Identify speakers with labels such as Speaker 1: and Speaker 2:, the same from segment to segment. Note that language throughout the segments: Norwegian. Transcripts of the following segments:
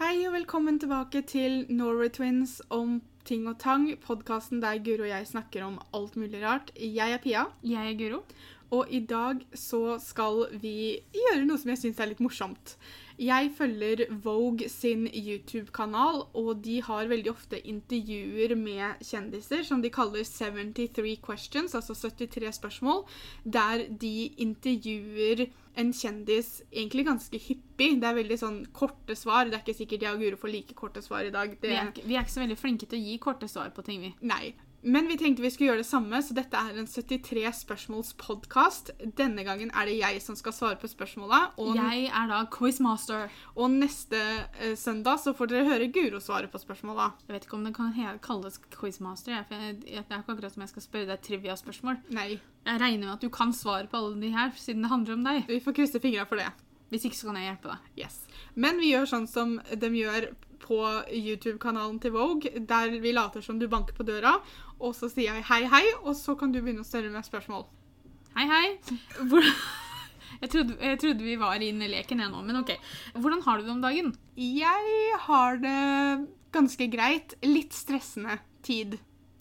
Speaker 1: Hei og velkommen tilbake til Norway Twins om ting og tang, podkasten der Guro og jeg snakker om alt mulig rart. Jeg er Pia,
Speaker 2: Jeg er Guro.
Speaker 1: og i dag så skal vi gjøre noe som jeg syns er litt morsomt. Jeg følger Vogue sin YouTube-kanal, og de har veldig ofte intervjuer med kjendiser som de kaller 73 questions, altså 73 spørsmål, der de intervjuer en kjendis egentlig ganske hyppig. Det er veldig sånn korte svar. Det er ikke sikkert jeg og Guro får like korte svar i dag.
Speaker 2: Vi
Speaker 1: Det...
Speaker 2: er, ikke, vi er ikke så veldig flinke til å gi korte svar på ting, vi.
Speaker 1: Nei. Men vi tenkte vi skulle gjøre det samme, så dette er en 73 spørsmåls podkast. Denne gangen er det jeg som skal svare på spørsmåla, og,
Speaker 2: Jeg er da quizmaster.
Speaker 1: og neste eh, søndag så får dere høre Guro svare på spørsmåla.
Speaker 2: Jeg vet ikke om det kan he kalles quizmaster. Jeg, for jeg, jeg, det er ikke akkurat som jeg skal spørre deg triviaspørsmål.
Speaker 1: Nei.
Speaker 2: Jeg regner med at du kan svare på alle de her, siden det handler om deg.
Speaker 1: Vi får krysse fingra for det.
Speaker 2: Hvis ikke, så kan jeg hjelpe deg.
Speaker 1: Yes. Men vi gjør sånn som de gjør på YouTube-kanalen til Vogue, der vi later som du banker på døra, og så sier jeg hei, hei, og så kan du begynne å stille med spørsmål.
Speaker 2: Hei, hei. Hvor... Jeg trodde, jeg trodde vi var inne i leken jeg nå, men ok. Hvordan har du det om dagen?
Speaker 1: Jeg har det ganske greit. Litt stressende tid.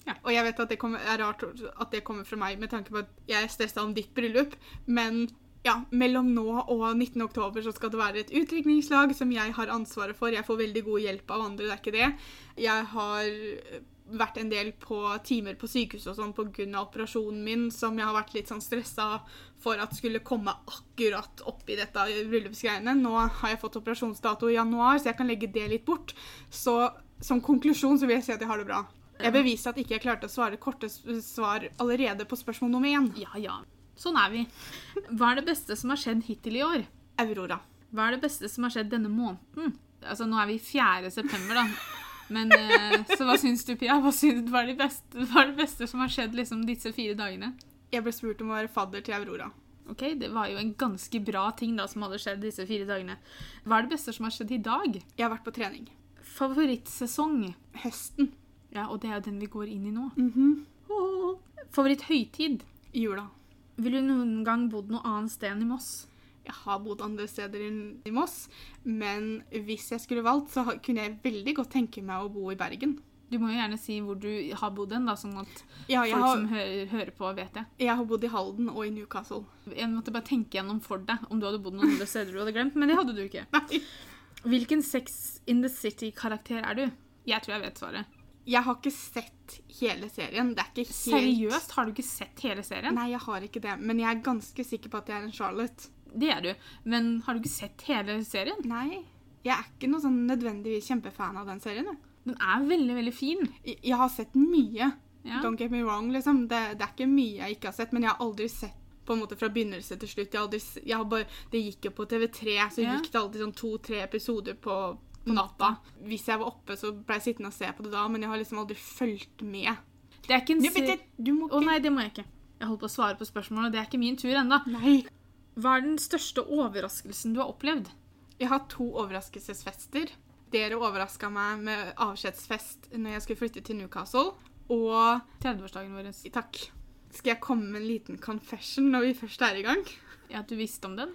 Speaker 2: Ja.
Speaker 1: Og jeg vet at det kommer, er rart at det kommer fra meg med tanke på at jeg er stressa om ditt bryllup, men ja, mellom nå og 19. oktober så skal det være et utdrikningslag som jeg har ansvaret for. Jeg får veldig god hjelp av andre, det er ikke det. Jeg har vært en del på timer på sykehuset og sånn pga. operasjonen min, som jeg har vært litt sånn stressa for at skulle komme akkurat opp i dette bryllupsgreiene. Nå har jeg fått operasjonsdato i januar, så jeg kan legge det litt bort. Så som konklusjon så vil jeg si at jeg har det bra. Jeg beviser at ikke jeg klarte å svare korte s- svar allerede på spørsmål nummer én.
Speaker 2: Ja, ja. Sånn er vi. Hva er det beste som har skjedd hittil i år?
Speaker 1: Aurora.
Speaker 2: Hva er det beste som har skjedd denne måneden? Altså, nå er vi 4. september, da. Men, eh, så hva syns du, Pia? Hva, syns, hva, er det beste, hva er det beste som har skjedd liksom, disse fire dagene?
Speaker 1: Jeg ble spurt om å være fadder til Aurora.
Speaker 2: Ok, Det var jo en ganske bra ting da, som hadde skjedd disse fire dagene. Hva er det beste som har skjedd i dag?
Speaker 1: Jeg har vært på trening.
Speaker 2: Favorittsesong?
Speaker 1: Høsten.
Speaker 2: Ja, og det er jo den vi går inn i nå. Åh. Favoritthøytid?
Speaker 1: Jula.
Speaker 2: Ville du noen gang bodd noe annet sted enn i Moss?
Speaker 1: Jeg har bodd andre steder enn i Moss, men hvis jeg skulle valgt, så ha- kunne jeg veldig godt tenke meg å bo i Bergen.
Speaker 2: Du må jo gjerne si hvor du har bodd hen, da, sånn at
Speaker 1: Ja, jeg
Speaker 2: folk
Speaker 1: har,
Speaker 2: som hører, hører på, vet det.
Speaker 1: jeg har bodd i Halden og i Newcastle.
Speaker 2: Jeg måtte bare tenke gjennom for deg om du hadde bodd noen andre steder du hadde glemt, men det hadde du ikke.
Speaker 1: Nei.
Speaker 2: Hvilken Sex in the City-karakter er du? Jeg tror jeg vet svaret.
Speaker 1: Jeg har ikke sett hele serien. Det er ikke helt
Speaker 2: Seriøst, har du ikke sett hele serien?
Speaker 1: Nei, jeg har ikke det. Men jeg er ganske sikker på at jeg er en Charlotte.
Speaker 2: Det er du. Men har du ikke sett hele serien?
Speaker 1: Nei, jeg er ikke noe sånn nødvendigvis kjempefan av den serien. jeg.
Speaker 2: Den er veldig, veldig fin.
Speaker 1: Jeg jeg har sett mye.
Speaker 2: Ja.
Speaker 1: Don't get me wrong, liksom. Det, det er ikke mye jeg ikke har sett, men jeg har aldri sett på en måte fra begynnelse til slutt. Jeg har aldri, s- jeg har bare, det gikk jo på TV3, så
Speaker 2: Ja.
Speaker 1: gikk det alltid sånn to-tre episoder på, på natta. Hvis jeg var oppe, så ble jeg sittende og se på det da, men jeg har liksom aldri fulgt med.
Speaker 2: Det er ikke en
Speaker 1: Du,
Speaker 2: se-
Speaker 1: du må
Speaker 2: Å nei, det må jeg ikke. Jeg holdt på å svare på spørsmålet, og det er ikke min tur ennå.
Speaker 1: Nei.
Speaker 2: Hva er den største overraskelsen du har opplevd?
Speaker 1: Jeg har to overraskelsesfester. Dere overraska meg med avskjedsfest når jeg skulle flytte til Newcastle. Og
Speaker 2: 30-årsdagen vår.
Speaker 1: takk. Skal jeg komme med en liten confession når vi først er i gang?
Speaker 2: Ja, du visste om den?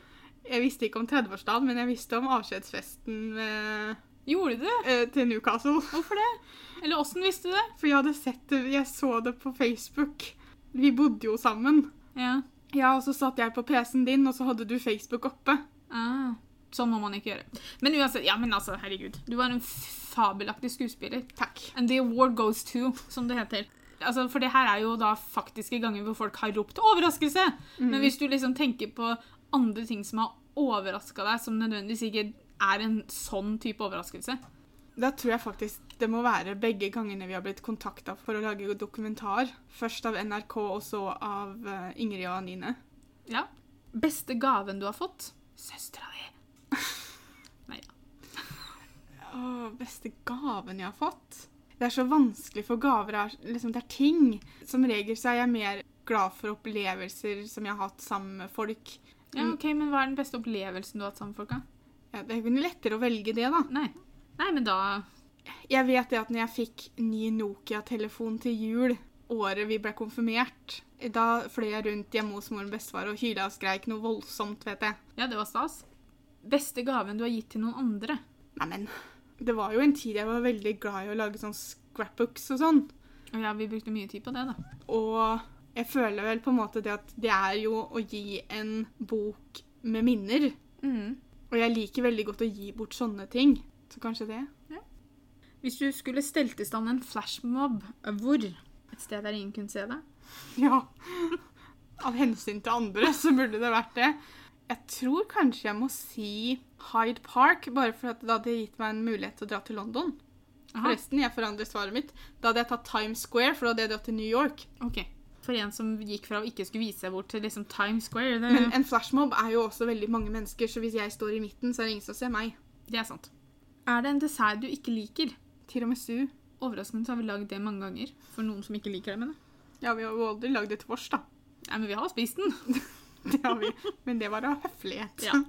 Speaker 1: Jeg visste ikke om 30-årsdagen, men jeg visste om avskjedsfesten eh,
Speaker 2: Gjorde du det?
Speaker 1: eh, til Newcastle.
Speaker 2: Hvorfor det? Eller åssen visste du det?
Speaker 1: For jeg hadde sett det, jeg så det på Facebook. Vi bodde jo sammen.
Speaker 2: Ja.
Speaker 1: Ja, og så satt jeg på PC-en din, og så hadde du Facebook oppe.
Speaker 2: Ah, sånn må man ikke gjøre. Men uansett, ja, men altså, herregud. Du var en f- fabelaktig skuespiller.
Speaker 1: Takk.
Speaker 2: And the award goes to, som det heter. Altså, for det her er jo da faktiske ganger hvor folk har ropt 'overraskelse'. Men hvis du liksom tenker på andre ting som har overraska deg, som nødvendigvis ikke er en sånn type overraskelse
Speaker 1: Da tror jeg faktisk det må være begge gangene vi har blitt kontakta for å lage dokumentar. Først av NRK, og så av eh, Ingrid og Anine.
Speaker 2: Ja. Beste gaven du har fått? Søstera di. Nei da.
Speaker 1: Åh, beste gaven jeg har fått? Det er så vanskelig, for gaver er liksom, det er ting. Som regel så er jeg mer glad for opplevelser som jeg har hatt sammen med folk.
Speaker 2: Ja, ok, Men hva er den beste opplevelsen du har hatt sammen med folka?
Speaker 1: Ja, det er jo lettere å velge det, da.
Speaker 2: Nei. Nei, men da
Speaker 1: Jeg vet det at når jeg fikk ny Nokia-telefon til jul året vi ble konfirmert, da fløy jeg rundt hjemme hos mor og bestefar og hyla og skreik noe voldsomt, vet jeg.
Speaker 2: Ja, det var stas. Beste gaven du har gitt til noen andre?
Speaker 1: Neimen, Det var jo en tid jeg var veldig glad i å lage sånn scrapbooks og sånn.
Speaker 2: Og ja, vi brukte mye tid på det, da.
Speaker 1: Og jeg føler vel på en måte det at det er jo å gi en bok med minner.
Speaker 2: Mm.
Speaker 1: Og jeg liker veldig godt å gi bort sånne ting. Så kanskje det.
Speaker 2: Hvis du skulle stelt i stand en flashmob, hvor? Et sted der ingen kunne se det?
Speaker 1: Ja. Av hensyn til andre så burde det vært det. Jeg tror kanskje jeg må si Hyde Park, bare for at det hadde gitt meg en mulighet til å dra til London.
Speaker 2: Aha,
Speaker 1: Forresten, jeg forandrer svaret mitt. Da hadde jeg tatt Times Square, for da hadde jeg dratt til New York.
Speaker 2: ok. For en som gikk fra å ikke skulle vise seg bort til liksom Times Square, det,
Speaker 1: Men en flashmob er jo også veldig mange mennesker, så hvis jeg står i midten, så er det ingen som ser meg.
Speaker 2: det er sant. Er det en dessert du ikke liker?
Speaker 1: Tiramisu.
Speaker 2: Overraskende så har vi lagd det mange ganger. For noen som ikke liker det, mener jeg.
Speaker 1: Ja, vi har jo aldri lagd et vors, da.
Speaker 2: Nei, men vi har spist den.
Speaker 1: Det har vi. Men det var av høflighet.
Speaker 2: Ja.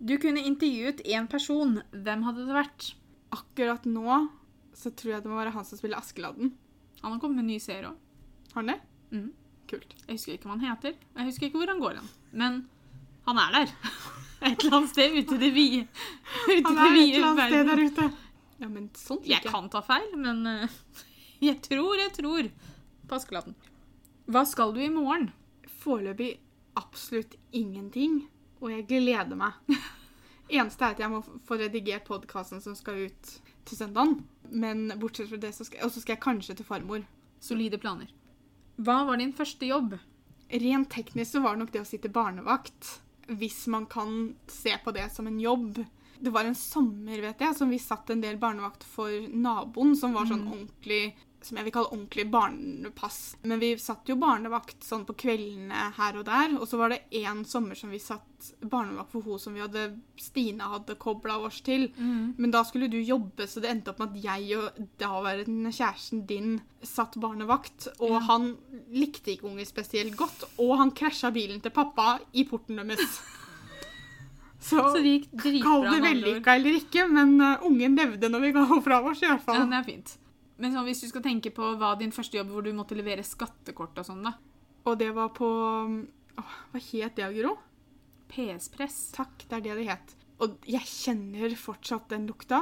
Speaker 2: Du kunne intervjuet én person. Hvem hadde det vært?
Speaker 1: Akkurat nå så tror jeg det må være han som spiller Askeladden.
Speaker 2: Han har kommet med en ny serie òg.
Speaker 1: Har han det?
Speaker 2: Mhm.
Speaker 1: Kult.
Speaker 2: Jeg husker ikke hva han heter, og jeg husker ikke hvor han går hen. Men han er der. Et eller annet sted ute i det vide ute i
Speaker 1: Han
Speaker 2: det
Speaker 1: er et
Speaker 2: vide
Speaker 1: eller annet sted
Speaker 2: verden.
Speaker 1: der ute. Ja, men sånn
Speaker 2: Jeg kan ta feil, men eh, jeg tror, jeg tror. På Askeladden. Hva skal du i morgen?
Speaker 1: Foreløpig absolutt ingenting, og jeg gleder meg. Eneste er at jeg må f- få redigert podkasten som skal ut til søndagen. Men bortsett fra det, så skal, og så skal jeg kanskje til farmor.
Speaker 2: Solide planer. Hva var din første jobb?
Speaker 1: Rent teknisk så var det nok det å sitte barnevakt, hvis man kan se på det som en jobb. Det var en sommer, vet jeg, som vi satt en del barnevakt for naboen, som var sånn ordentlig som jeg vil kalle ordentlig barnepass. Men vi satt jo barnevakt sånn på kveldene her og der. Og så var det én sommer som vi satt barnevakt for hun som vi hadde, Stine hadde kobla oss til.
Speaker 2: Mm.
Speaker 1: Men da skulle du jobbe, så det endte opp med at jeg og daværende kjæresten din satt barnevakt. Og han likte ikke unger spesielt godt, og han krasja bilen til pappa i porten deres. Så,
Speaker 2: Så det gikk dritbra.
Speaker 1: kall det
Speaker 2: med andre ord.
Speaker 1: vellykka eller ikke, men eh, ungen levde når vi ga henne fra oss, i hvert
Speaker 2: Ja,
Speaker 1: fall.
Speaker 2: det er fint. Men sånn, hvis du skal tenke på hva din første jobb hvor du måtte levere skattekort og sånn, da.
Speaker 1: Og det var på åh, Hva het det, Gro?
Speaker 2: PS-press.
Speaker 1: Takk, det er det det het. Og jeg kjenner fortsatt den lukta.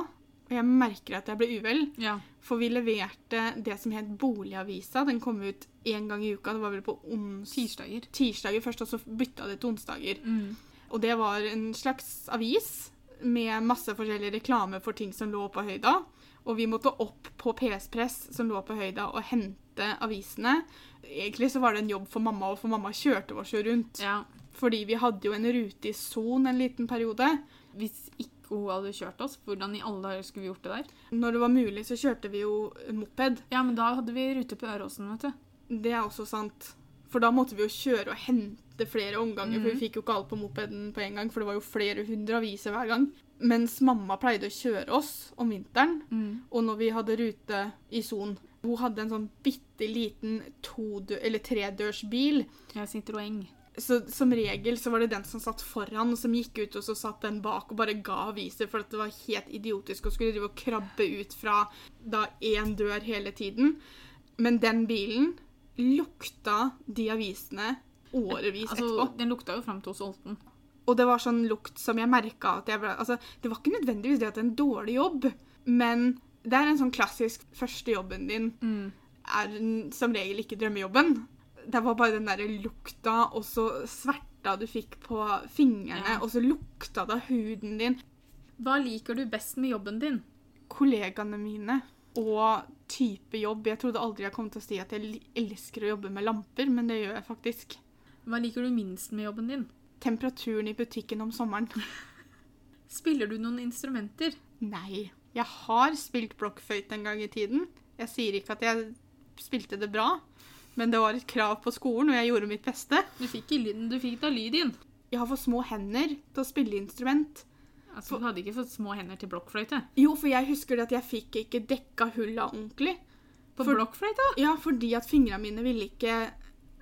Speaker 1: Og jeg merker at jeg ble uvel,
Speaker 2: Ja.
Speaker 1: for vi leverte det som het Boligavisa. Den kom ut én gang i uka. Det var vel på ons
Speaker 2: Tirsdager. Mm.
Speaker 1: tirsdager først, og så bytta det til onsdager. Og det var en slags avis med masse forskjellig reklame for ting som lå på høyda. Og vi måtte opp på PS-press som lå på høyda, og hente avisene. Egentlig så var det en jobb for mamma, og for mamma kjørte oss jo rundt.
Speaker 2: Ja.
Speaker 1: Fordi vi hadde jo en rute i Son en liten periode.
Speaker 2: Hvis ikke hun hadde kjørt oss, hvordan i alle dager skulle vi gjort det der?
Speaker 1: Når det var mulig, så kjørte vi jo moped.
Speaker 2: Ja, men da hadde vi rute på Øråsen, vet du.
Speaker 1: Det er også sant. For da måtte vi jo kjøre og hente flere omganger, for vi fikk jo ikke alt på mopeden på en gang, for det var jo flere hundre aviser hver gang. Mens mamma pleide å kjøre oss om vinteren,
Speaker 2: Mm.
Speaker 1: og når vi hadde rute i Son. Hun hadde en sånn bitte liten to- eller tredørsbil,
Speaker 2: Jeg sitter og eng.
Speaker 1: så som regel så var det den som satt foran, som gikk ut, og så satt den bak og bare ga aviser, for at det var helt idiotisk å skulle drive og krabbe ut fra da én dør hele tiden. Men den bilen lukta de avisene årevis
Speaker 2: Altså,
Speaker 1: etterpå.
Speaker 2: den lukta jo fram til hos Olten.
Speaker 1: Og det var sånn lukt som jeg merka at jeg ble Altså, det var ikke nødvendigvis det at det er en dårlig jobb, men det er en sånn klassisk første jobben din
Speaker 2: Mm.
Speaker 1: er en- som regel ikke drømmejobben. Det var bare den derre lukta og så sverta du fikk på fingrene,
Speaker 2: Ja.
Speaker 1: og så lukta det av huden din.
Speaker 2: Hva liker du best med jobben din?
Speaker 1: Kollegaene mine og type jobb. Jeg trodde aldri jeg kom til å si at jeg li- elsker å jobbe med lamper, men det gjør jeg faktisk.
Speaker 2: Hva liker du minst med jobben din?
Speaker 1: Temperaturen i butikken om sommeren.
Speaker 2: Spiller du noen instrumenter?
Speaker 1: Nei. Jeg har spilt blokkfløyte en gang i tiden. Jeg sier ikke at jeg spilte det bra, men det var et krav på skolen, og jeg gjorde mitt beste.
Speaker 2: Du fikk, i lyden, du fikk da lyd inn.
Speaker 1: Jeg har for små hender til å spille instrument.
Speaker 2: Altså, du hadde ikke fått små hender til blokkfløyte.
Speaker 1: Jo, for jeg husker det at jeg fikk ikke dekka hulla ordentlig.
Speaker 2: På
Speaker 1: For-
Speaker 2: blokkfløyta?
Speaker 1: Ja, fordi at fingra mine ville ikke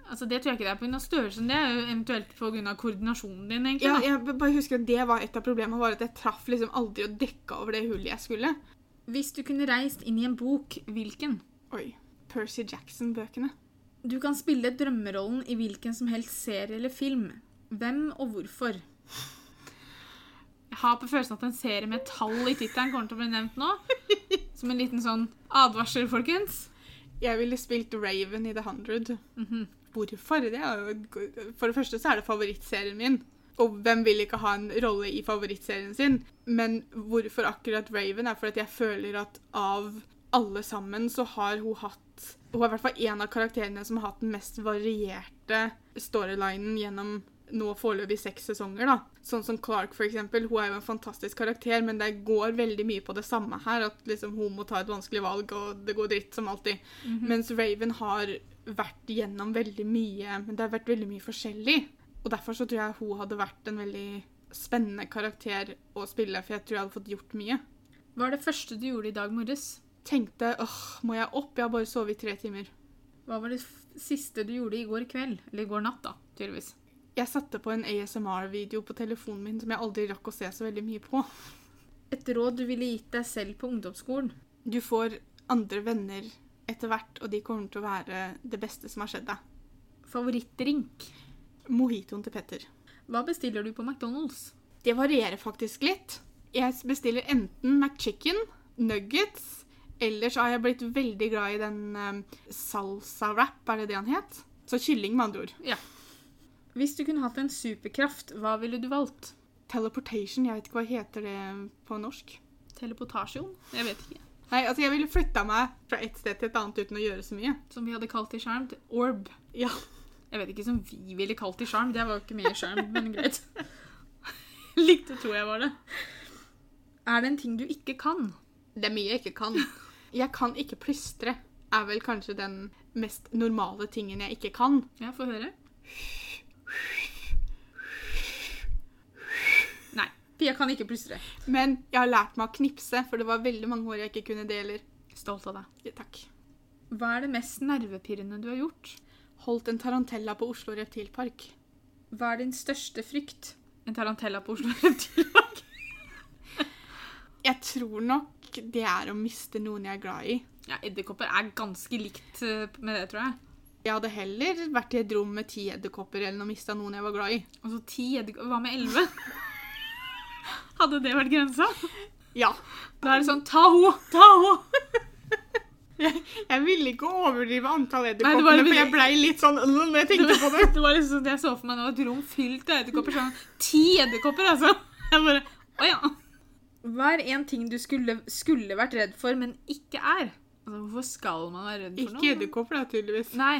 Speaker 2: Altså, det tror jeg ikke det er pga. størrelsen, det er jo eventuelt pga. koordinasjonen din, egentlig.
Speaker 1: ja,
Speaker 2: da.
Speaker 1: Jeg b- bare husker at det var et av problemene, var at jeg traff liksom aldri og dekka over det hullet jeg skulle.
Speaker 2: Hvis du kunne reist inn i en bok, hvilken?
Speaker 1: Oi. Percy Jackson-bøkene.
Speaker 2: Du kan spille drømmerollen i hvilken som helst serie eller film. Hvem og hvorfor? har på følelsen at en serie med tall i tittelen kommer til å bli nevnt nå. Som en liten sånn advarsel, folkens.
Speaker 1: Jeg ville spilt Raven i The Hundred. Hvorfor? Det er jo, for det første så er det favorittserien min. Og hvem vil ikke ha en rolle i favorittserien sin? Men hvorfor akkurat Raven? er fordi jeg føler at av alle sammen så har hun hatt Hun er i hvert fall en av karakterene som har hatt den mest varierte storylinen gjennom nå foreløpig seks sesonger. da. Sånn som Clark, for eksempel. Hun er jo en fantastisk karakter, men det går veldig mye på det samme her. At liksom hun må ta et vanskelig valg, og det går dritt som alltid. Mens Raven har vært gjennom veldig mye, men det har vært veldig mye forskjellig. Og derfor så tror jeg hun hadde vært en veldig spennende karakter å spille, for jeg tror jeg hadde fått gjort mye.
Speaker 2: Hva er det første du gjorde i dag morges?
Speaker 1: Tenkte åh, må jeg opp? Jeg har bare sovet i tre timer.
Speaker 2: Hva var det f- siste du gjorde i går kveld? Eller i går natt, da, tydeligvis.
Speaker 1: Jeg satte på en ASMR-video på telefonen min som jeg aldri rakk å se så veldig mye på.
Speaker 2: Et råd du ville gitt deg selv på ungdomsskolen?
Speaker 1: Du får andre venner etter hvert, og de kommer til å være det beste som har skjedd deg.
Speaker 2: Favorittdrink?
Speaker 1: Mojitoen til Petter.
Speaker 2: Hva bestiller du på McDonald's?
Speaker 1: Det varierer faktisk litt. Jeg bestiller enten McChicken, nuggets, eller så har jeg blitt veldig glad i den eh, salsa wrap, er det det han het? Så kylling, med andre ord.
Speaker 2: Hvis du kunne hatt en superkraft, hva ville du valgt?
Speaker 1: Teleportation, jeg vet ikke hva heter det på norsk.
Speaker 2: Teleportasjon? Jeg vet ikke.
Speaker 1: Nei, altså jeg ville flytta meg fra et sted til et annet uten å gjøre så mye.
Speaker 2: Som vi hadde kalt i sjarm. Orb.
Speaker 1: Ja.
Speaker 2: Jeg vet ikke som vi ville kalt i sjarm. Det var jo ikke mye sjarm, men greit. Likte tror jeg var det. Er det en ting du ikke kan?
Speaker 1: Det er mye jeg ikke kan. Jeg kan ikke plystre. Er vel kanskje den mest normale tingen jeg ikke kan.
Speaker 2: Ja, få høre. Nei. Pia kan ikke plystre.
Speaker 1: Men jeg har lært meg å knipse, for det var veldig mange år jeg ikke kunne det heller.
Speaker 2: Stolt av deg.
Speaker 1: Ja, takk.
Speaker 2: Hva er det mest nervepirrende du har gjort?
Speaker 1: Holdt en tarantella på Oslo Reptilpark.
Speaker 2: Hva er din største frykt? En tarantella på Oslo Reptilpark.
Speaker 1: Jeg tror nok det er å miste noen jeg er glad i.
Speaker 2: Ja, edderkopper er ganske likt eh, med det, tror jeg.
Speaker 1: Jeg hadde heller vært i et rom med ti edderkopper enn å miste noen jeg var glad i.
Speaker 2: Altså ti edderkopper Hva med elleve? Hadde det vært grensa?
Speaker 1: Ja.
Speaker 2: Da er det sånn ta henne! Ta henne!
Speaker 1: Jeg ville ikke overdrive antall
Speaker 2: Nei, det var-
Speaker 1: edderkopper, for jeg blei litt sånn øh, når jeg tenkte på det.
Speaker 2: Det var liksom det jeg så for meg nå, et rom fylt av edderkopper. Sånn ti edderkopper, altså! Jeg bare Å ja. Hva er en ting du skulle, vært redd for, men ikke er? Altså, Hvorfor skal man være redd for noe?
Speaker 1: Ikke edderkopper, da, tydeligvis.
Speaker 2: Nei.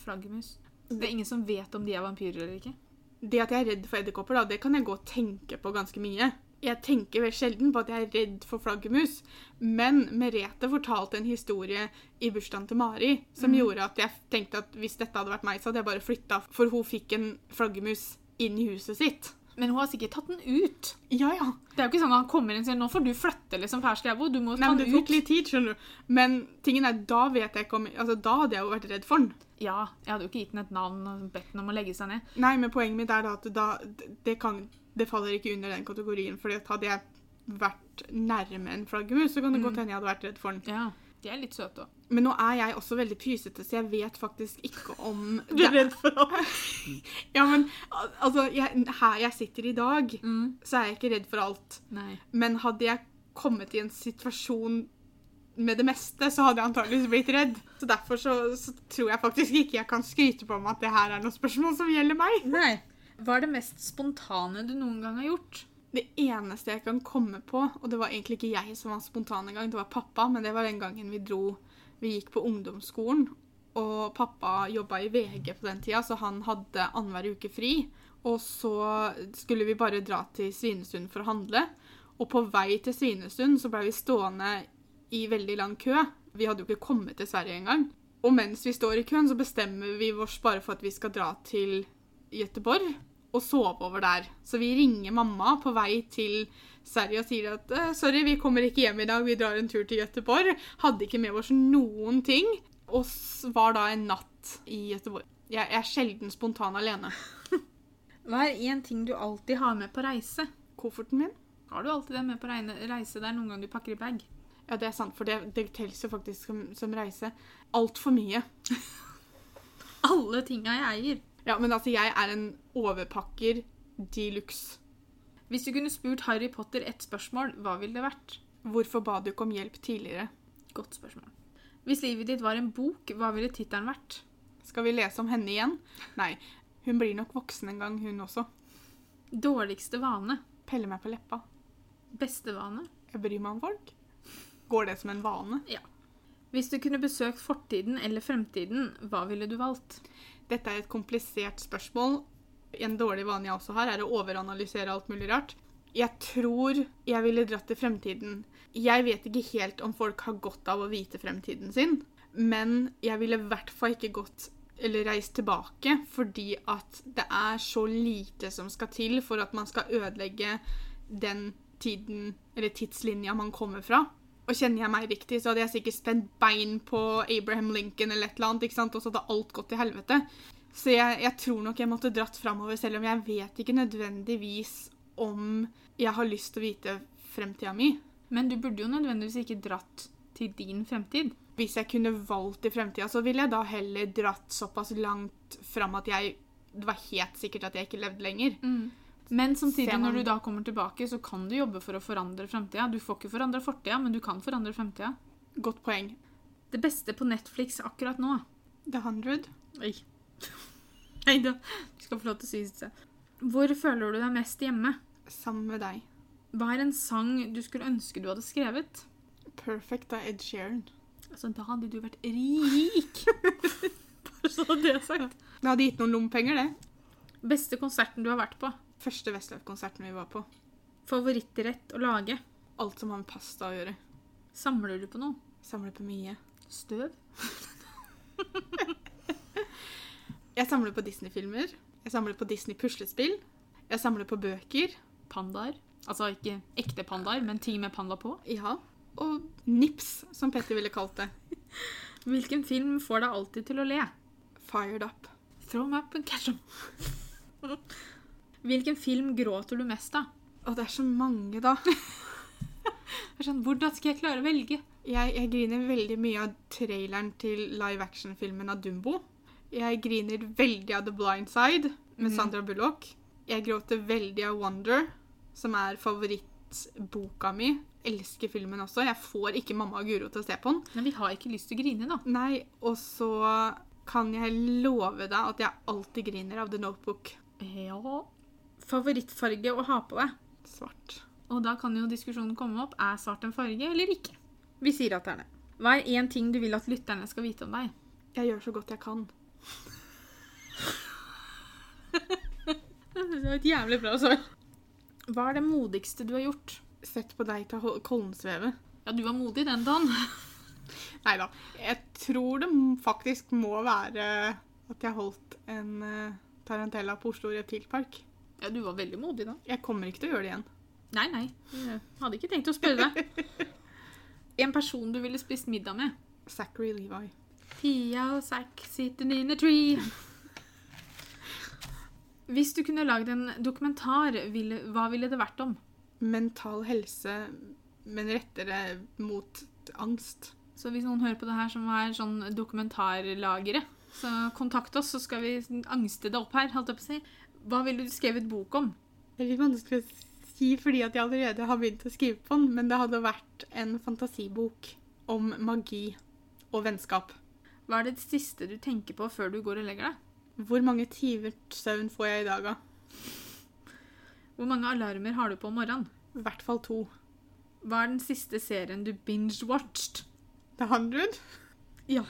Speaker 2: Flaggermus. Det er ingen som vet om de er vampyrer eller ikke.
Speaker 1: Det at jeg er redd for edderkopper, da, det kan jeg gå og tenke på ganske mye. Jeg tenker vel sjelden på at jeg er redd for flaggermus, men Merete fortalte en historie i bursdagen til Mari som gjorde at jeg tenkte at hvis dette hadde vært meg, så hadde jeg bare flytta, for hun fikk en flaggermus inn i huset sitt.
Speaker 2: Men hun har sikkert tatt den ut.
Speaker 1: Ja, ja.
Speaker 2: Det er jo ikke sånn at han kommer inn og sier 'nå får du flytte', liksom, Per Skreibo. Du må
Speaker 1: Nei,
Speaker 2: ta
Speaker 1: men det
Speaker 2: den ut.
Speaker 1: tok litt tid, skjønner du. Men tingen er, da vet jeg ikke om Altså, da hadde jeg jo vært redd for den.
Speaker 2: Ja, jeg hadde jo ikke gitt den et navn og bedt den om å legge seg ned.
Speaker 1: Nei, men poenget mitt er da at da, det, kan, det faller ikke under den kategorien. fordi at hadde jeg vært nærme en flaggermus, så kan det godt hende jeg hadde vært redd for den.
Speaker 2: Ja, De er litt søte òg.
Speaker 1: Men nå er jeg også veldig pysete, så jeg vet faktisk ikke om
Speaker 2: redd for alt?
Speaker 1: Ja, men al- altså, jeg, her jeg sitter i dag,
Speaker 2: Mm.
Speaker 1: så er jeg ikke redd for alt.
Speaker 2: Nei.
Speaker 1: Men hadde jeg kommet i en situasjon med det meste, så hadde jeg antageligvis blitt redd. Så derfor så, så tror jeg faktisk ikke jeg kan skryte på meg at det her er noe spørsmål som gjelder meg.
Speaker 2: Nei. Hva er det mest spontane du noen gang har gjort?
Speaker 1: Det eneste jeg kan komme på, og det var egentlig ikke jeg som var spontan engang, det var pappa, men det var den gangen vi dro Vi gikk på ungdomsskolen, og pappa jobba i VG på den tida, så han hadde annenhver uke fri. Og så skulle vi bare dra til Svinesund for å handle. Og på vei til Svinesund så blei vi stående i veldig lang kø. Vi hadde jo ikke kommet til Sverige engang. Og mens vi står i køen, så bestemmer vi oss bare for at vi skal dra til Gøteborg og sove over der. Så vi ringer mamma på vei til Sverige og sier at «Eh, sorry, vi kommer ikke hjem i dag, vi drar en tur til Gøteborg. Hadde ikke med oss noen ting, og s- var da en natt i Gøteborg. Jeg jeg er sjelden spontan alene.
Speaker 2: Hva er én ting du alltid har med på reise?
Speaker 1: Kofferten min?
Speaker 2: Har du alltid det med på reine- reise der noen gang du pakker i bag?
Speaker 1: Ja, det er sant, for det, det telles jo faktisk som, som reise. Altfor mye.
Speaker 2: Alle tinga jeg eier.
Speaker 1: Ja, men altså, jeg er en overpakker de luxe.
Speaker 2: Hvis du kunne spurt Harry Potter ett spørsmål, hva ville det vært?
Speaker 1: Hvorfor ba du ikke om hjelp tidligere?
Speaker 2: Godt spørsmål. Hvis livet ditt var en bok, hva ville tittelen vært?
Speaker 1: Skal vi lese om henne igjen? Nei, hun blir nok voksen en gang, hun også.
Speaker 2: Dårligste vane?
Speaker 1: Pelle meg på leppa.
Speaker 2: Beste vane?
Speaker 1: Jeg bryr meg om folk. Går det som en vane?
Speaker 2: Hvis du kunne besøkt fortiden eller fremtiden, hva ville du valgt?
Speaker 1: Dette er et komplisert spørsmål. En dårlig vane jeg også har, er å overanalysere alt mulig rart. Jeg tror jeg ville dratt til fremtiden. Jeg vet ikke helt om folk har godt av å vite fremtiden sin, men jeg ville i hvert fall ikke gått eller reist tilbake, fordi at det er så lite som skal til for at man skal ødelegge den tiden, eller tidslinja man kommer fra. Og kjenner jeg meg riktig, så hadde jeg sikkert spent bein på Abraham Lincoln eller et eller annet, ikke sant? og så hadde alt gått til helvete. Så jeg, jeg tror nok jeg måtte dratt framover, selv om jeg vet ikke nødvendigvis om jeg har lyst til å vite fremtida mi.
Speaker 2: Men du burde jo nødvendigvis ikke dratt til din fremtid.
Speaker 1: Hvis jeg kunne valgt i fremtida, så ville jeg da heller dratt såpass langt fram at jeg det var helt sikkert at jeg ikke levde lenger.
Speaker 2: Mm. Men samtidig,
Speaker 1: Ser man-
Speaker 2: når du da kommer tilbake, så kan du jobbe for å forandre fremtida. Du får ikke forandre fortida, men du kan forandre fremtida.
Speaker 1: Godt poeng.
Speaker 2: Det beste på Netflix akkurat nå
Speaker 1: The 100.
Speaker 2: Oi. Nei da. Du skal få lov til å si det. Hvor føler du deg mest hjemme?
Speaker 1: Sammen med deg.
Speaker 2: Hva er en sang du skulle ønske du hadde skrevet?
Speaker 1: Perfect av Ed Sheeran.
Speaker 2: Altså, da hadde du vært rik! Bare så det er sagt.
Speaker 1: Det hadde gitt noen lommepenger, det.
Speaker 2: Beste konserten du har vært på?
Speaker 1: Første Westløf-konserten vi var på.
Speaker 2: Favorittrett å lage?
Speaker 1: Alt som har med pasta å gjøre.
Speaker 2: Samler du på noe?
Speaker 1: Samler på mye.
Speaker 2: Støv?
Speaker 1: Jeg samler på Disney-filmer. Jeg samler på Disney-puslespill. Jeg samler på bøker.
Speaker 2: Pandaer? Altså ikke ekte pandaer, men ting med panda på.
Speaker 1: Ja. Og nips, som Petter ville kalt det.
Speaker 2: Hvilken film får deg alltid til å le?
Speaker 1: Fired up.
Speaker 2: Throw them up and catch them. Hvilken film gråter du mest av?
Speaker 1: Og det er så mange, da.
Speaker 2: Jeg er Sånn, hvordan skal jeg klare å velge?
Speaker 1: Jeg, jeg griner veldig mye av traileren til live action-filmen av Dumbo. Jeg griner veldig av The Blind Side med
Speaker 2: Mhm.
Speaker 1: Sandra Bullock. Jeg gråter veldig av Wonder, som er favorittboka mi. Elsker filmen også. Jeg får ikke mamma og Guro til å se på den.
Speaker 2: Men vi har ikke lyst til å grine, da.
Speaker 1: Nei, og så kan jeg love deg at jeg alltid griner av The Notebook.
Speaker 2: Ja. Favorittfarge å ha på deg?
Speaker 1: Svart.
Speaker 2: Og da kan jo diskusjonen komme opp. Er svart en farge eller ikke? Vi sier at det er det. Hva er én ting du vil at lytterne skal vite om deg?
Speaker 1: Jeg gjør så godt jeg kan.
Speaker 2: Det var et jævlig bra svar. Hva er det modigste du har gjort?
Speaker 1: Sett på deg til Hol- Kollensvevet.
Speaker 2: Ja, du var modig den dagen.
Speaker 1: Nei da. Jeg tror det m- faktisk må være at jeg holdt en eh, tarantella på Oslo Reptilpark.
Speaker 2: Ja, du var veldig modig da.
Speaker 1: Jeg kommer ikke til å gjøre det igjen.
Speaker 2: Nei, nei. Jeg hadde ikke tenkt å spørre deg. En person du ville spist middag med?
Speaker 1: Zachary Levi.
Speaker 2: Pia og Zack sitting in a tree. Hvis du kunne lagd en dokumentar, ville, hva ville det vært om?
Speaker 1: Mental helse, men rettere mot angst.
Speaker 2: Så hvis noen hører på det her som er sånn dokumentarlagere, så kontakt oss, så skal vi angste det opp her, holdt jeg på å si. Hva ville du skrevet bok om?
Speaker 1: Det er litt vanskelig å si fordi at jeg allerede har begynt å skrive på den, men det hadde vært en fantasibok om magi og vennskap.
Speaker 2: Hva er det siste du tenker på før du går og legger deg?
Speaker 1: Hvor mange timer søvn får jeg i dag, da?
Speaker 2: Hvor mange alarmer har du på om morgenen?
Speaker 1: I hvert fall to.
Speaker 2: Hva er den siste serien du binge-watched?
Speaker 1: The 100?
Speaker 2: Ja.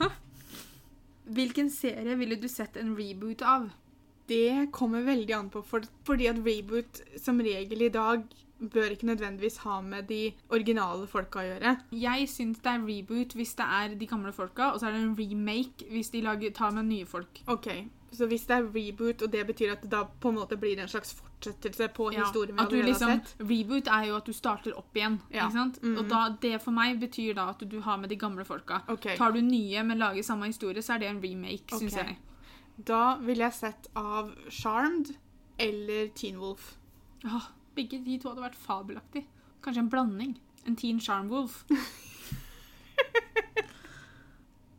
Speaker 2: Hvilken serie ville du sett en reboot av?
Speaker 1: Det kommer veldig an på, for, fordi at reboot som regel i dag bør ikke nødvendigvis ha med de originale folka å gjøre.
Speaker 2: Jeg syns det er reboot hvis det er de gamle folka, og så er det en remake hvis de lager, tar med nye folk.
Speaker 1: Ok, Så hvis det er reboot, og det betyr at det da på en måte blir en slags fortsettelse på
Speaker 2: Ja,
Speaker 1: historien vi
Speaker 2: at du
Speaker 1: allerede
Speaker 2: liksom,
Speaker 1: har sett?
Speaker 2: Reboot er jo at du starter opp igjen.
Speaker 1: Ja.
Speaker 2: ikke sant?
Speaker 1: Mhm.
Speaker 2: Og da, Det for meg betyr da at du har med de gamle folka.
Speaker 1: Ok,
Speaker 2: Tar du nye, men lager samme historie, så er det en remake,
Speaker 1: Ok.
Speaker 2: syns jeg.
Speaker 1: Da ville jeg sett av Charmed eller Teen Wolf.
Speaker 2: Åh, begge de to hadde vært fabelaktig. Kanskje en blanding. En Teen Charm Wolf.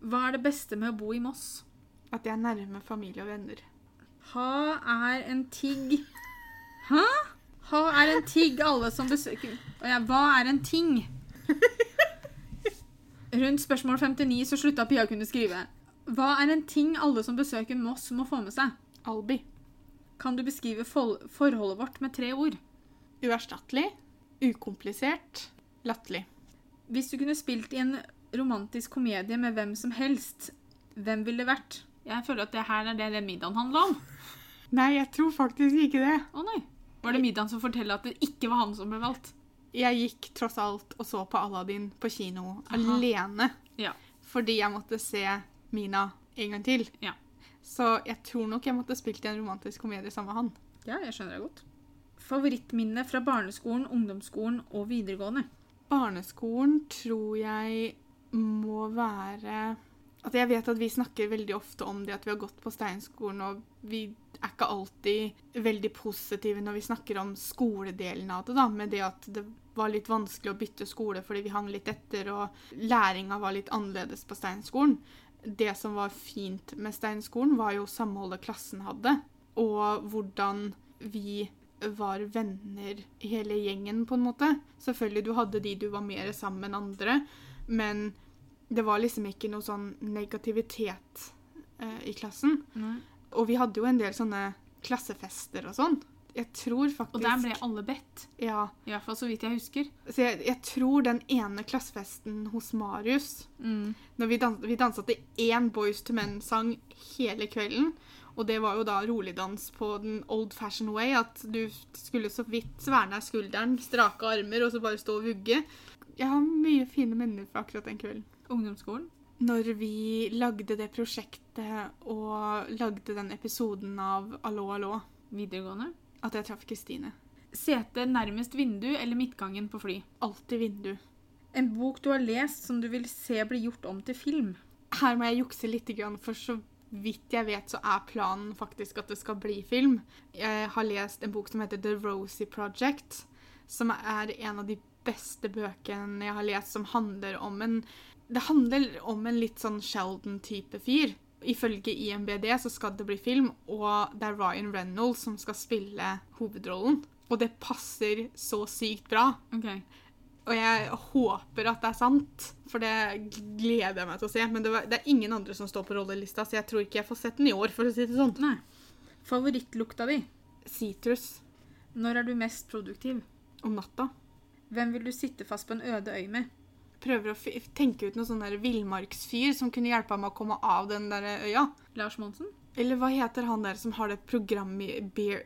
Speaker 2: Hva er det beste med å bo i Moss?
Speaker 1: At jeg er nærme familie og venner.
Speaker 2: Ha er en tigg Hæ? Hva er en ting alle som besøker Å ja, Hva er en ting? Rundt spørsmål 59 så slutta Pia å kunne skrive. Hva er en ting alle som besøker Moss må få med seg?
Speaker 1: Albi.
Speaker 2: Kan du beskrive fol- forholdet vårt med tre ord?
Speaker 1: Uerstattelig. Ukomplisert. Latterlig.
Speaker 2: Hvis du kunne spilt i en romantisk komedie med hvem som helst, hvem ville det vært? Jeg føler at det her er det, det middagen handla om.
Speaker 1: Nei, jeg tror faktisk ikke det.
Speaker 2: Å nei. Var det middagen som forteller at det ikke var han som ble valgt?
Speaker 1: Jeg gikk tross alt og så på Aladdin på kino
Speaker 2: Aha.
Speaker 1: alene
Speaker 2: Ja.
Speaker 1: fordi jeg måtte se Mina en gang til.
Speaker 2: Ja.
Speaker 1: Så jeg tror nok jeg måtte spilt i en romantisk komedie sammen med han.
Speaker 2: Ja, jeg skjønner det godt. Favorittminne fra barneskolen, ungdomsskolen og videregående.
Speaker 1: Barneskolen tror jeg må være At jeg vet at vi snakker veldig ofte om det at vi har gått på Steinskolen, og vi er ikke alltid veldig positive når vi snakker om skoledelen av det, da, med det at det var litt vanskelig å bytte skole fordi vi hang litt etter, og læringa var litt annerledes på Steinskolen. Det som var fint med Steinskolen, var jo samholdet klassen hadde, og hvordan vi var venner hele gjengen, på en måte. Selvfølgelig, du hadde de du var mer sammen med enn andre, men det var liksom ikke noe sånn negativitet eh, i klassen. Og vi hadde jo en del sånne klassefester og sånn. Jeg tror faktisk
Speaker 2: Og der ble alle bedt.
Speaker 1: Ja.
Speaker 2: I hvert fall så vidt jeg husker.
Speaker 1: Så jeg, jeg tror den ene klassefesten hos Marius
Speaker 2: Mm.
Speaker 1: når vi, dans, vi dansa til én Boys to Men-sang hele kvelden. Og det var jo da roligdans på den old fashion way. At du skulle så vidt sverne av skulderen, strake armer og så bare stå og vugge. Jeg har mye fine minner fra akkurat den kvelden.
Speaker 2: Ungdomsskolen.
Speaker 1: Når vi lagde det prosjektet og lagde den episoden av Allo, allo,
Speaker 2: Videregående.
Speaker 1: at jeg traff Kristine.
Speaker 2: Sete nærmest vindu eller midtgangen på fly.
Speaker 1: Alltid vindu.
Speaker 2: En bok du har lest som du vil se bli gjort om til film.
Speaker 1: her må jeg jukse litt, for så vidt jeg vet, så er planen faktisk at det skal bli film. Jeg har lest en bok som heter The Rosie Project, som er en av de beste bøkene jeg har lest, som handler om en Det handler om en litt sånn Sheldon-type fyr. Ifølge IMBD så skal det bli film, og det er Ryan Reynolds som skal spille hovedrollen. Og det passer så sykt bra.
Speaker 2: Ok.
Speaker 1: Og jeg håper at det er sant, for det gleder jeg meg til å se. Men det, var, det er ingen andre som står på rollelista, så jeg tror ikke jeg får sett den i år. for å si det sånn.
Speaker 2: Nei. Favorittlukta di.
Speaker 1: Sitrus
Speaker 2: Når er du mest produktiv?
Speaker 1: om natta.
Speaker 2: Hvem vil du sitte fast på en øde øy med?
Speaker 1: Prøver å fi- tenke ut noen sånn der villmarksfyr som kunne hjelpe meg å komme av den der øya.
Speaker 2: Lars Monsen?
Speaker 1: Eller hva heter han der som har det programmet i Bear,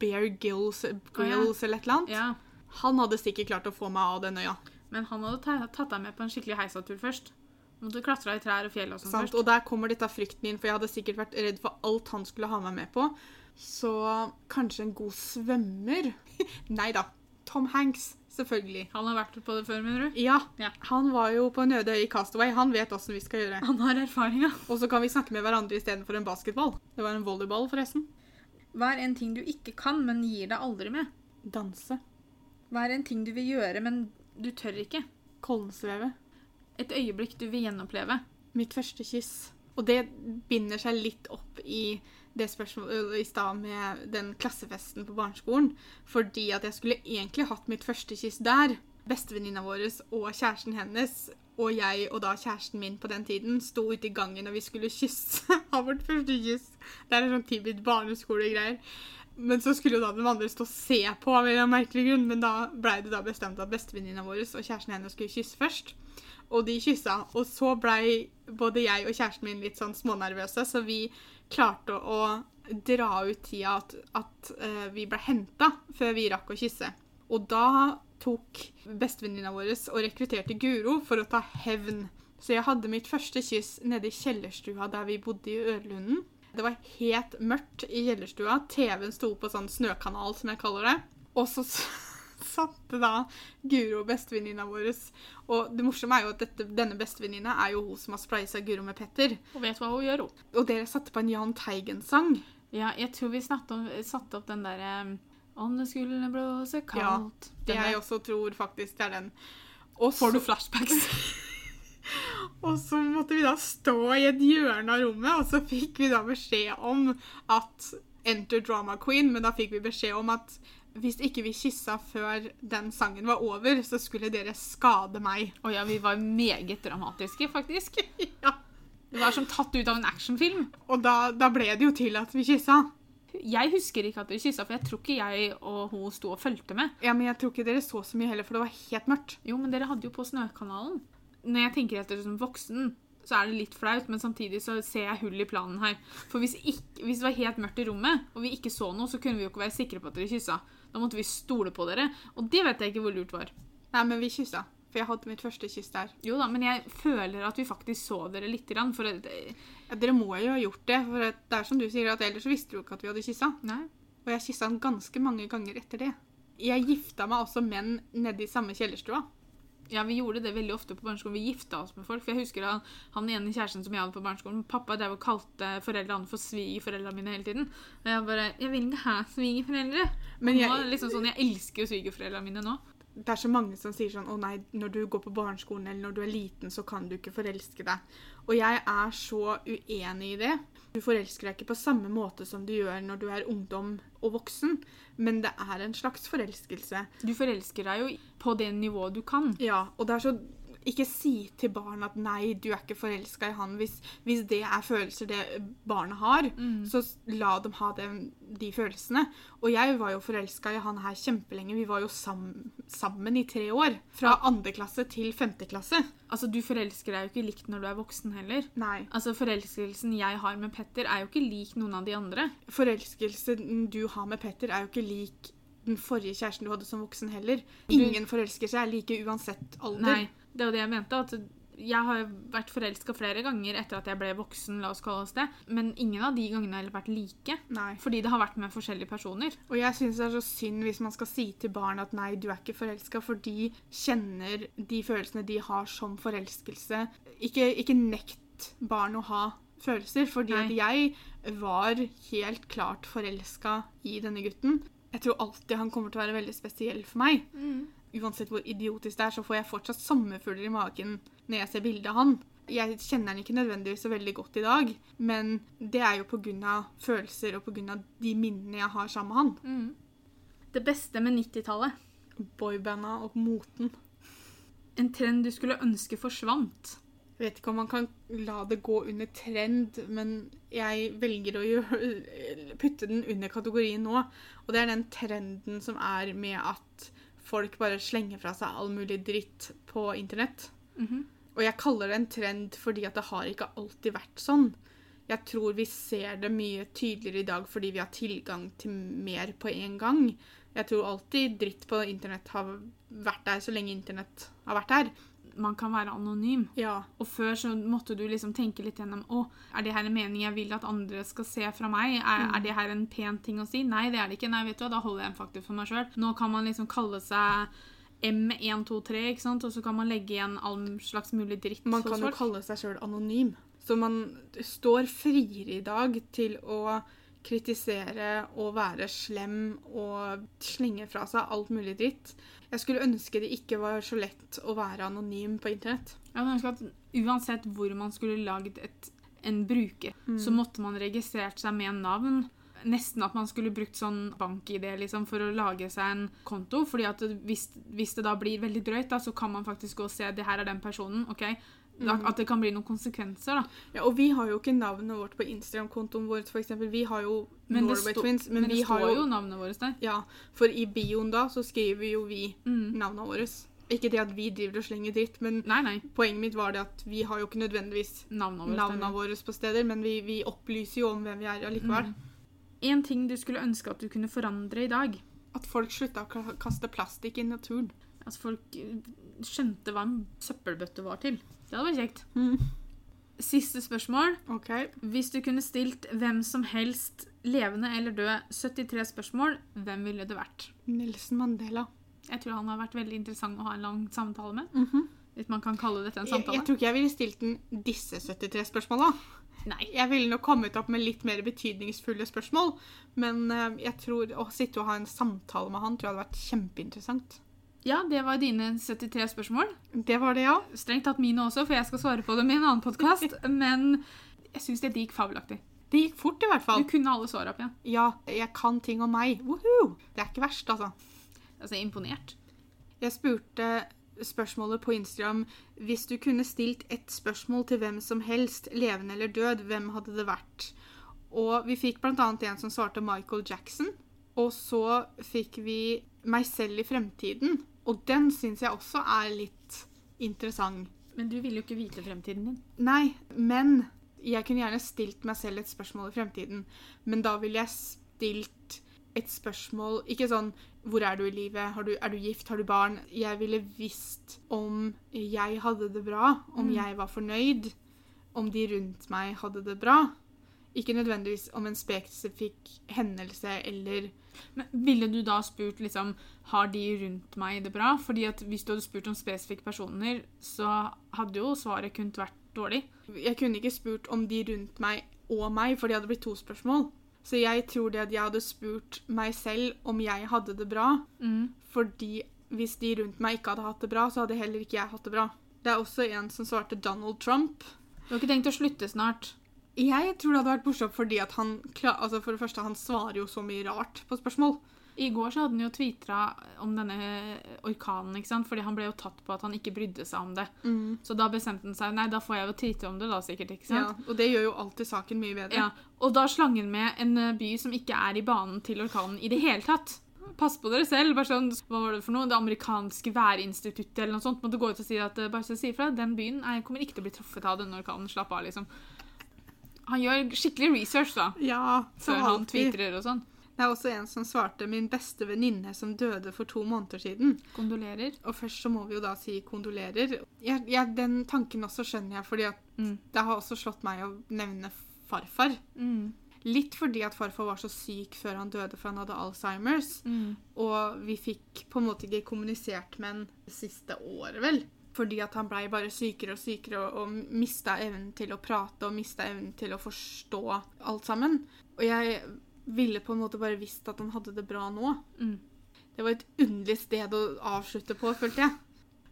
Speaker 1: Bear Gills, Grills eller et eller annet?
Speaker 2: Ja.
Speaker 1: Han hadde sikkert klart å få meg av den øya.
Speaker 2: Men han hadde ta- tatt deg med på en skikkelig heisatur først. Måtte klatre i trær og fjell og sånn
Speaker 1: Sant?
Speaker 2: først.
Speaker 1: Og der kommer dette frykten inn, for jeg hadde sikkert vært redd for alt han skulle ha meg med på. Så kanskje en god svømmer? Nei da. Tom Hanks, selvfølgelig.
Speaker 2: Han har vært på det før, mener du?
Speaker 1: Ja,
Speaker 2: Ja.
Speaker 1: han var jo på en øde øy i Castaway. Han vet åssen vi skal gjøre.
Speaker 2: Han har erfaringa.
Speaker 1: Og så kan vi snakke med hverandre istedenfor en basketball. Det var en volleyball, forresten.
Speaker 2: Hva er en ting du ikke kan, men gir deg aldri med?
Speaker 1: Danse.
Speaker 2: Hva er en ting du vil gjøre, men du tør ikke?
Speaker 1: Kollensveve.
Speaker 2: Et øyeblikk du vil gjenoppleve.
Speaker 1: Mitt første kyss. Og det binder seg litt opp i det spørsmålet i stad med den klassefesten på barneskolen. Fordi at jeg skulle egentlig hatt mitt første kyss der. Bestevenninna vår og kjæresten hennes og jeg og da kjæresten min på den tiden sto ute i gangen og vi skulle kysse. Ha vårt første kyss. Det er en sånn timid barneskolegreier. Men så skulle jo da den andre stå og se på av en eller annen merkelig grunn. Men da blei det da bestemt at bestevenninna vår og kjæresten hennes skulle kysse først. Og de kyssa. Og så blei både jeg og kjæresten min litt sånn smånervøse, så vi klarte å dra ut tida at, at eh, vi ble henta før vi rakk å kysse. Og da tok bestevenninna vår og rekrutterte Guro for å ta hevn. Så jeg hadde mitt første kyss nede i kjellerstua der vi bodde i Ørlunden. Det var helt mørkt i kjellerstua. TV-en sto på sånn snøkanal, som jeg kaller det. Og så s- satte da Guro, bestevenninna vår Og det morsomme er jo at dette, denne bestevenninna er jo hun som har spleisa Guro med Petter.
Speaker 2: Og vet hva hun gjør, hun.
Speaker 1: Og dere satte på en Jahn Teigen-sang.
Speaker 2: Ja, jeg tror vi snakket om, satte opp den derre Om det skulle blåse kaldt
Speaker 1: Det
Speaker 2: Den der.
Speaker 1: jeg også tror faktisk det er den. Og
Speaker 2: Får
Speaker 1: så,
Speaker 2: du flashbacks?
Speaker 1: og så måtte vi da stå i et hjørne av rommet, og så fikk vi da beskjed om at Enter Drama Queen, men da fikk vi beskjed om at hvis ikke vi kyssa før den sangen var over, så skulle dere skade meg.
Speaker 2: Å ja, vi var meget dramatiske, faktisk.
Speaker 1: Ja.
Speaker 2: Det var som tatt ut av en actionfilm.
Speaker 1: Og da, da ble det jo til at vi kyssa.
Speaker 2: Jeg husker ikke at vi kyssa, for jeg tror ikke jeg og hun sto og fulgte med.
Speaker 1: Ja, men jeg tror ikke dere så så mye heller, for det var helt mørkt.
Speaker 2: Jo, men dere hadde jo på Snøkanalen. Når jeg tenker etter som voksen, så er det litt flaut, men samtidig så ser jeg hull i planen her. For hvis, ikke, hvis det var helt mørkt i rommet, og vi ikke så noe, så kunne vi jo ikke være sikre på at dere kyssa. Da måtte vi stole på dere, og det vet jeg ikke hvor lurt var.
Speaker 1: Nei, men vi kyssa. For jeg hadde mitt første kyss der.
Speaker 2: Jo da, men jeg føler at vi faktisk så dere lite grann, for det-
Speaker 1: Ja, dere må jo ha gjort det, for at det er som du sier, at ellers så visste du jo ikke at vi hadde kyssa.
Speaker 2: Nei.
Speaker 1: Og jeg kyssa han ganske mange ganger etter det. Jeg gifta meg også menn nede i samme kjellerstua.
Speaker 2: Ja, vi gjorde det veldig ofte på barneskolen. Vi gifta oss med folk. For jeg husker han, han ene kjæresten som jeg hadde på barneskolen, pappa drev og kalte foreldrene for svigerforeldrene mine hele tiden. Og jeg bare Jeg vil ikke ha svigerforeldre.
Speaker 1: Men
Speaker 2: Nå er
Speaker 1: jeg,
Speaker 2: det liksom sånn, jeg elsker jo svigerforeldrene mine nå.
Speaker 1: det er så mange som sier sånn 'Å nei, når du går på barneskolen eller når du er liten, så kan du ikke forelske deg'. Og jeg er så uenig i det. Du forelsker deg ikke på samme måte som du gjør når du er ungdom og voksen, men det er en slags forelskelse.
Speaker 2: Du forelsker deg jo på det nivået du kan.
Speaker 1: Ja, og det er så Ikke si til barn at 'nei, du er ikke forelska i han'. Hvis, hvis det er følelser det barnet har, så s- la dem ha den- de følelsene. Og jeg var jo forelska i han her kjempelenge. Vi var jo sam, sammen i tre år. Fra andre klasse til femte klasse.
Speaker 2: Altså, du forelsker deg jo ikke likt når du er voksen heller.
Speaker 1: Nei.
Speaker 2: Altså, Forelskelsen jeg har med Petter, er jo ikke lik noen av de andre.
Speaker 1: Forelskelsen du har med Petter, er jo ikke lik den forrige kjæresten du hadde som voksen heller. Ingen forelskelse er like uansett alder.
Speaker 2: Nei, det var det jeg mente. at Jeg har vært forelska flere ganger etter at jeg ble voksen, la oss kalle oss det. Men ingen av de gangene har vært like.
Speaker 1: Nei.
Speaker 2: Fordi det har vært med forskjellige personer.
Speaker 1: Og jeg syns det er så synd hvis man skal si til barn at nei, du er ikke forelska, for de kjenner de følelsene de har som forelskelse. Ikke, ikke nekt barn å ha følelser, fordi at
Speaker 2: Nei.
Speaker 1: jeg var helt klart forelska i denne gutten. Jeg tror alltid han kommer til å være veldig spesiell for meg. Uansett hvor idiotisk det er, så får jeg fortsatt sommerfugler i magen når jeg ser bildet av han. Jeg kjenner han ikke nødvendigvis så veldig godt i dag, men det er jo pga. følelser og pga. de minnene jeg har sammen med han.
Speaker 2: Mm. Det beste med 90-tallet.
Speaker 1: boybanda og moten.
Speaker 2: En trend du skulle ønske forsvant.
Speaker 1: Jeg vet ikke om man kan la det gå under trend, men jeg velger å gjøre, putte den under kategorien nå. Og det er den trenden som er med at folk bare slenger fra seg all mulig dritt på internett. Og jeg kaller det en trend fordi at det har ikke alltid vært sånn. Jeg tror vi ser det mye tydeligere i dag fordi vi har tilgang til mer på en gang. Jeg tror alltid dritt på internett har vært der så lenge internett har vært der.
Speaker 2: Man kan være anonym.
Speaker 1: Ja,
Speaker 2: Og før så måtte du liksom tenke litt gjennom Å, er det her en mening jeg vil at andre skal se fra meg? Er,
Speaker 1: Mm.
Speaker 2: er det her en pen ting å si? Nei, det er det ikke. Nei, vet du hva, da holder jeg en faktor for meg sjøl. Nå kan man liksom kalle seg M123, ikke sant? og så kan man legge igjen all slags mulig dritt
Speaker 1: Man
Speaker 2: hos
Speaker 1: kan jo
Speaker 2: folk.
Speaker 1: kalle seg sjøl anonym. Så man står friere i dag til å kritisere og være slem og slenge fra seg alt mulig dritt. Jeg skulle ønske det ikke var så lett å være anonym på internett.
Speaker 2: Jeg hadde ønsket at uansett hvor man skulle lagd et, en bruker,
Speaker 1: Mm.
Speaker 2: så måtte man registrert seg med en navn. Nesten at man skulle brukt sånn bank-ID liksom, for å lage seg en konto. fordi at det- hvis, hvis det da blir veldig drøyt, da, så kan man faktisk gå og se det her er den personen. ok? Da,
Speaker 1: Mm.
Speaker 2: At det kan bli noen konsekvenser. da.
Speaker 1: Ja, og vi har jo ikke navnet vårt på Instagram-kontoen vår, f.eks. Vi har jo
Speaker 2: Men det,
Speaker 1: Norway
Speaker 2: sto-
Speaker 1: Twins, men,
Speaker 2: men det
Speaker 1: vi har
Speaker 2: står
Speaker 1: jo,
Speaker 2: jo navnet vårt der.
Speaker 1: Ja, for i bioen da så skriver jo vi navnene våre. Ikke det at vi driver og slenger dritt, men
Speaker 2: Mm. Nei, nei.
Speaker 1: poenget mitt var det at vi har jo ikke nødvendigvis
Speaker 2: Navnet vårt.
Speaker 1: navnene
Speaker 2: der.
Speaker 1: våre på steder, men vi, vi opplyser jo om hvem vi er allikevel.
Speaker 2: Mm. En ting du skulle ønske at du kunne forandre i dag.
Speaker 1: At folk slutta å ka- kaste plastikk i naturen.
Speaker 2: Altså folk eh, skjønte hva en søppelbøtte var til. Det hadde vært kjekt.
Speaker 1: Mm.
Speaker 2: Siste spørsmål.
Speaker 1: Ok.
Speaker 2: Hvis du kunne stilt hvem som helst, levende eller død, 73 spørsmål, hvem ville det vært?
Speaker 1: Nelson Mandela.
Speaker 2: Jeg tror han har vært veldig interessant å ha en lang samtale med. Hvis man kan kalle dette Mhm. en
Speaker 1: Jeg,
Speaker 2: samtale.
Speaker 1: jeg tror ikke jeg ville stilt den disse 73 spørsmåla.
Speaker 2: Nei.
Speaker 1: Jeg ville nok kommet opp med litt mer betydningsfulle spørsmål. Men eh, jeg tror å sitte og ha en samtale med han tror jeg hadde vært kjempeinteressant.
Speaker 2: Ja, det var dine 73 spørsmål.
Speaker 1: Det var det, ja.
Speaker 2: Strengt tatt mine også, for jeg skal svare på dem i en annen podkast. Men jeg syns det gikk fabelaktig.
Speaker 1: Det gikk fort, i hvert
Speaker 2: Du
Speaker 1: fall.
Speaker 2: kunne alle såra opp igjen.
Speaker 1: Ja, jeg kan ting om meg. Woohoo! Det er ikke verst, altså.
Speaker 2: Altså, jeg er imponert.
Speaker 1: Jeg spurte spørsmålet på Instagram Hvis du kunne stilt ett spørsmål til hvem som helst, levende eller død, hvem hadde det vært? Og vi fikk bl.a. en som svarte Michael Jackson. Og så fikk vi meg selv i fremtiden. Og den syns jeg også er litt interessant.
Speaker 2: Men du ville jo ikke vite fremtiden din.
Speaker 1: Nei, men jeg kunne gjerne stilt meg selv et spørsmål i fremtiden. Men da ville jeg stilt et spørsmål Ikke sånn 'Hvor er du i livet? Har du, er du gift? Har du barn?' Jeg ville visst om jeg hadde det bra, om jeg var fornøyd, om de rundt meg hadde det bra. Ikke nødvendigvis om en spesifikk hendelse eller
Speaker 2: Men Ville du da spurt liksom, har de rundt meg det bra? Fordi at Hvis du hadde spurt om spesifikke personer, så hadde jo svaret kunnet vært dårlig.
Speaker 1: Jeg kunne ikke spurt om de rundt meg og meg, for det hadde blitt to spørsmål. Så jeg tror det at jeg hadde spurt meg selv om jeg hadde det bra, fordi hvis de rundt meg ikke hadde hatt det bra, så hadde heller ikke jeg hatt det bra. Det er også en som svarte Donald Trump.
Speaker 2: Du har ikke tenkt å slutte snart?
Speaker 1: Jeg tror det hadde vært morsomt fordi at han kla- altså For det første, han svarer jo så mye rart på spørsmål.
Speaker 2: I går så hadde han jo tvitra om denne orkanen, ikke sant? fordi han ble jo tatt på at han ikke brydde seg om det. Så da bestemte han seg nei, da får jeg jo tvite om det, da sikkert. ikke
Speaker 1: Ja,
Speaker 2: sant?
Speaker 1: og det gjør jo alltid saken mye
Speaker 2: Ja.
Speaker 1: bedre.
Speaker 2: Og da slang han med en eh, by som ikke er i banen til orkanen i det hele tatt. Pass på dere selv. bare sånn, Hva var det for noe? Det amerikanske værinstituttet eller noe sånt måtte gå ut og si at eh, bare så si ifra, den byen er, kommer ikke til å bli truffet av denne orkanen. Slapp av, liksom. Han gjør skikkelig research, da,
Speaker 1: Ja, som
Speaker 2: før han
Speaker 1: alltid.
Speaker 2: tvitrer og sånn.
Speaker 1: Det er også en som svarte 'min beste venninne som døde for to måneder siden'.
Speaker 2: Kondolerer.
Speaker 1: Og først så må vi jo da si kondolerer. Jeg, jeg, den tanken også skjønner jeg, fordi at
Speaker 2: Mm.
Speaker 1: det har også slått meg å nevne farfar.
Speaker 2: Mm,
Speaker 1: Litt fordi at farfar var så syk før han døde, for han hadde Alzheimers.
Speaker 2: mm.
Speaker 1: Og vi fikk på en måte ikke kommunisert med han det siste året, vel. Fordi at han blei bare sykere og sykere og, og mista evnen til å prate og mista evnen til å forstå alt sammen. Og jeg ville på en måte bare visst at han hadde det bra nå.
Speaker 2: Mm.
Speaker 1: Det var et underlig sted å avslutte på, følte jeg.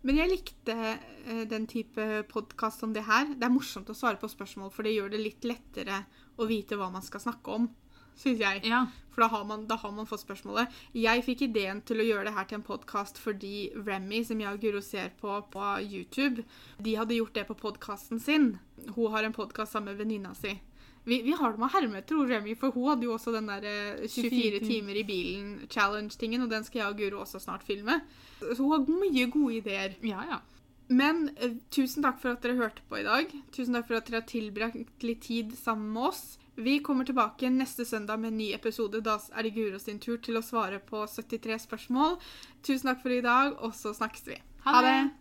Speaker 1: Men jeg likte eh, den type podkast som det her. Det er morsomt å svare på spørsmål, for det gjør det litt lettere å vite hva man skal snakke om, syns jeg.
Speaker 2: Ja.
Speaker 1: For da har, man, da har man fått spørsmålet. Jeg fikk ideen til å gjøre det her til en podkast fordi Remy, som jeg og Guro ser på på YouTube, de hadde gjort det på podkasten sin. Hun har en podkast sammen med venninna si. Vi, vi har det med å herme, tror Remy, for hun hadde jo også den der eh, 24
Speaker 2: 24
Speaker 1: timer i bilen-challenge-tingen, og den skal jeg og Guro også snart filme. Så hun har mye gode ideer.
Speaker 2: Ja, ja.
Speaker 1: Men eh, tusen takk for at dere hørte på i dag. Tusen takk for at dere har tilbrakt litt tid sammen med oss. Vi kommer tilbake neste søndag med en ny episode. Da er det Guro sin tur til å svare på 73 spørsmål. Tusen takk for i dag, og så snakkes vi.
Speaker 2: Ha det!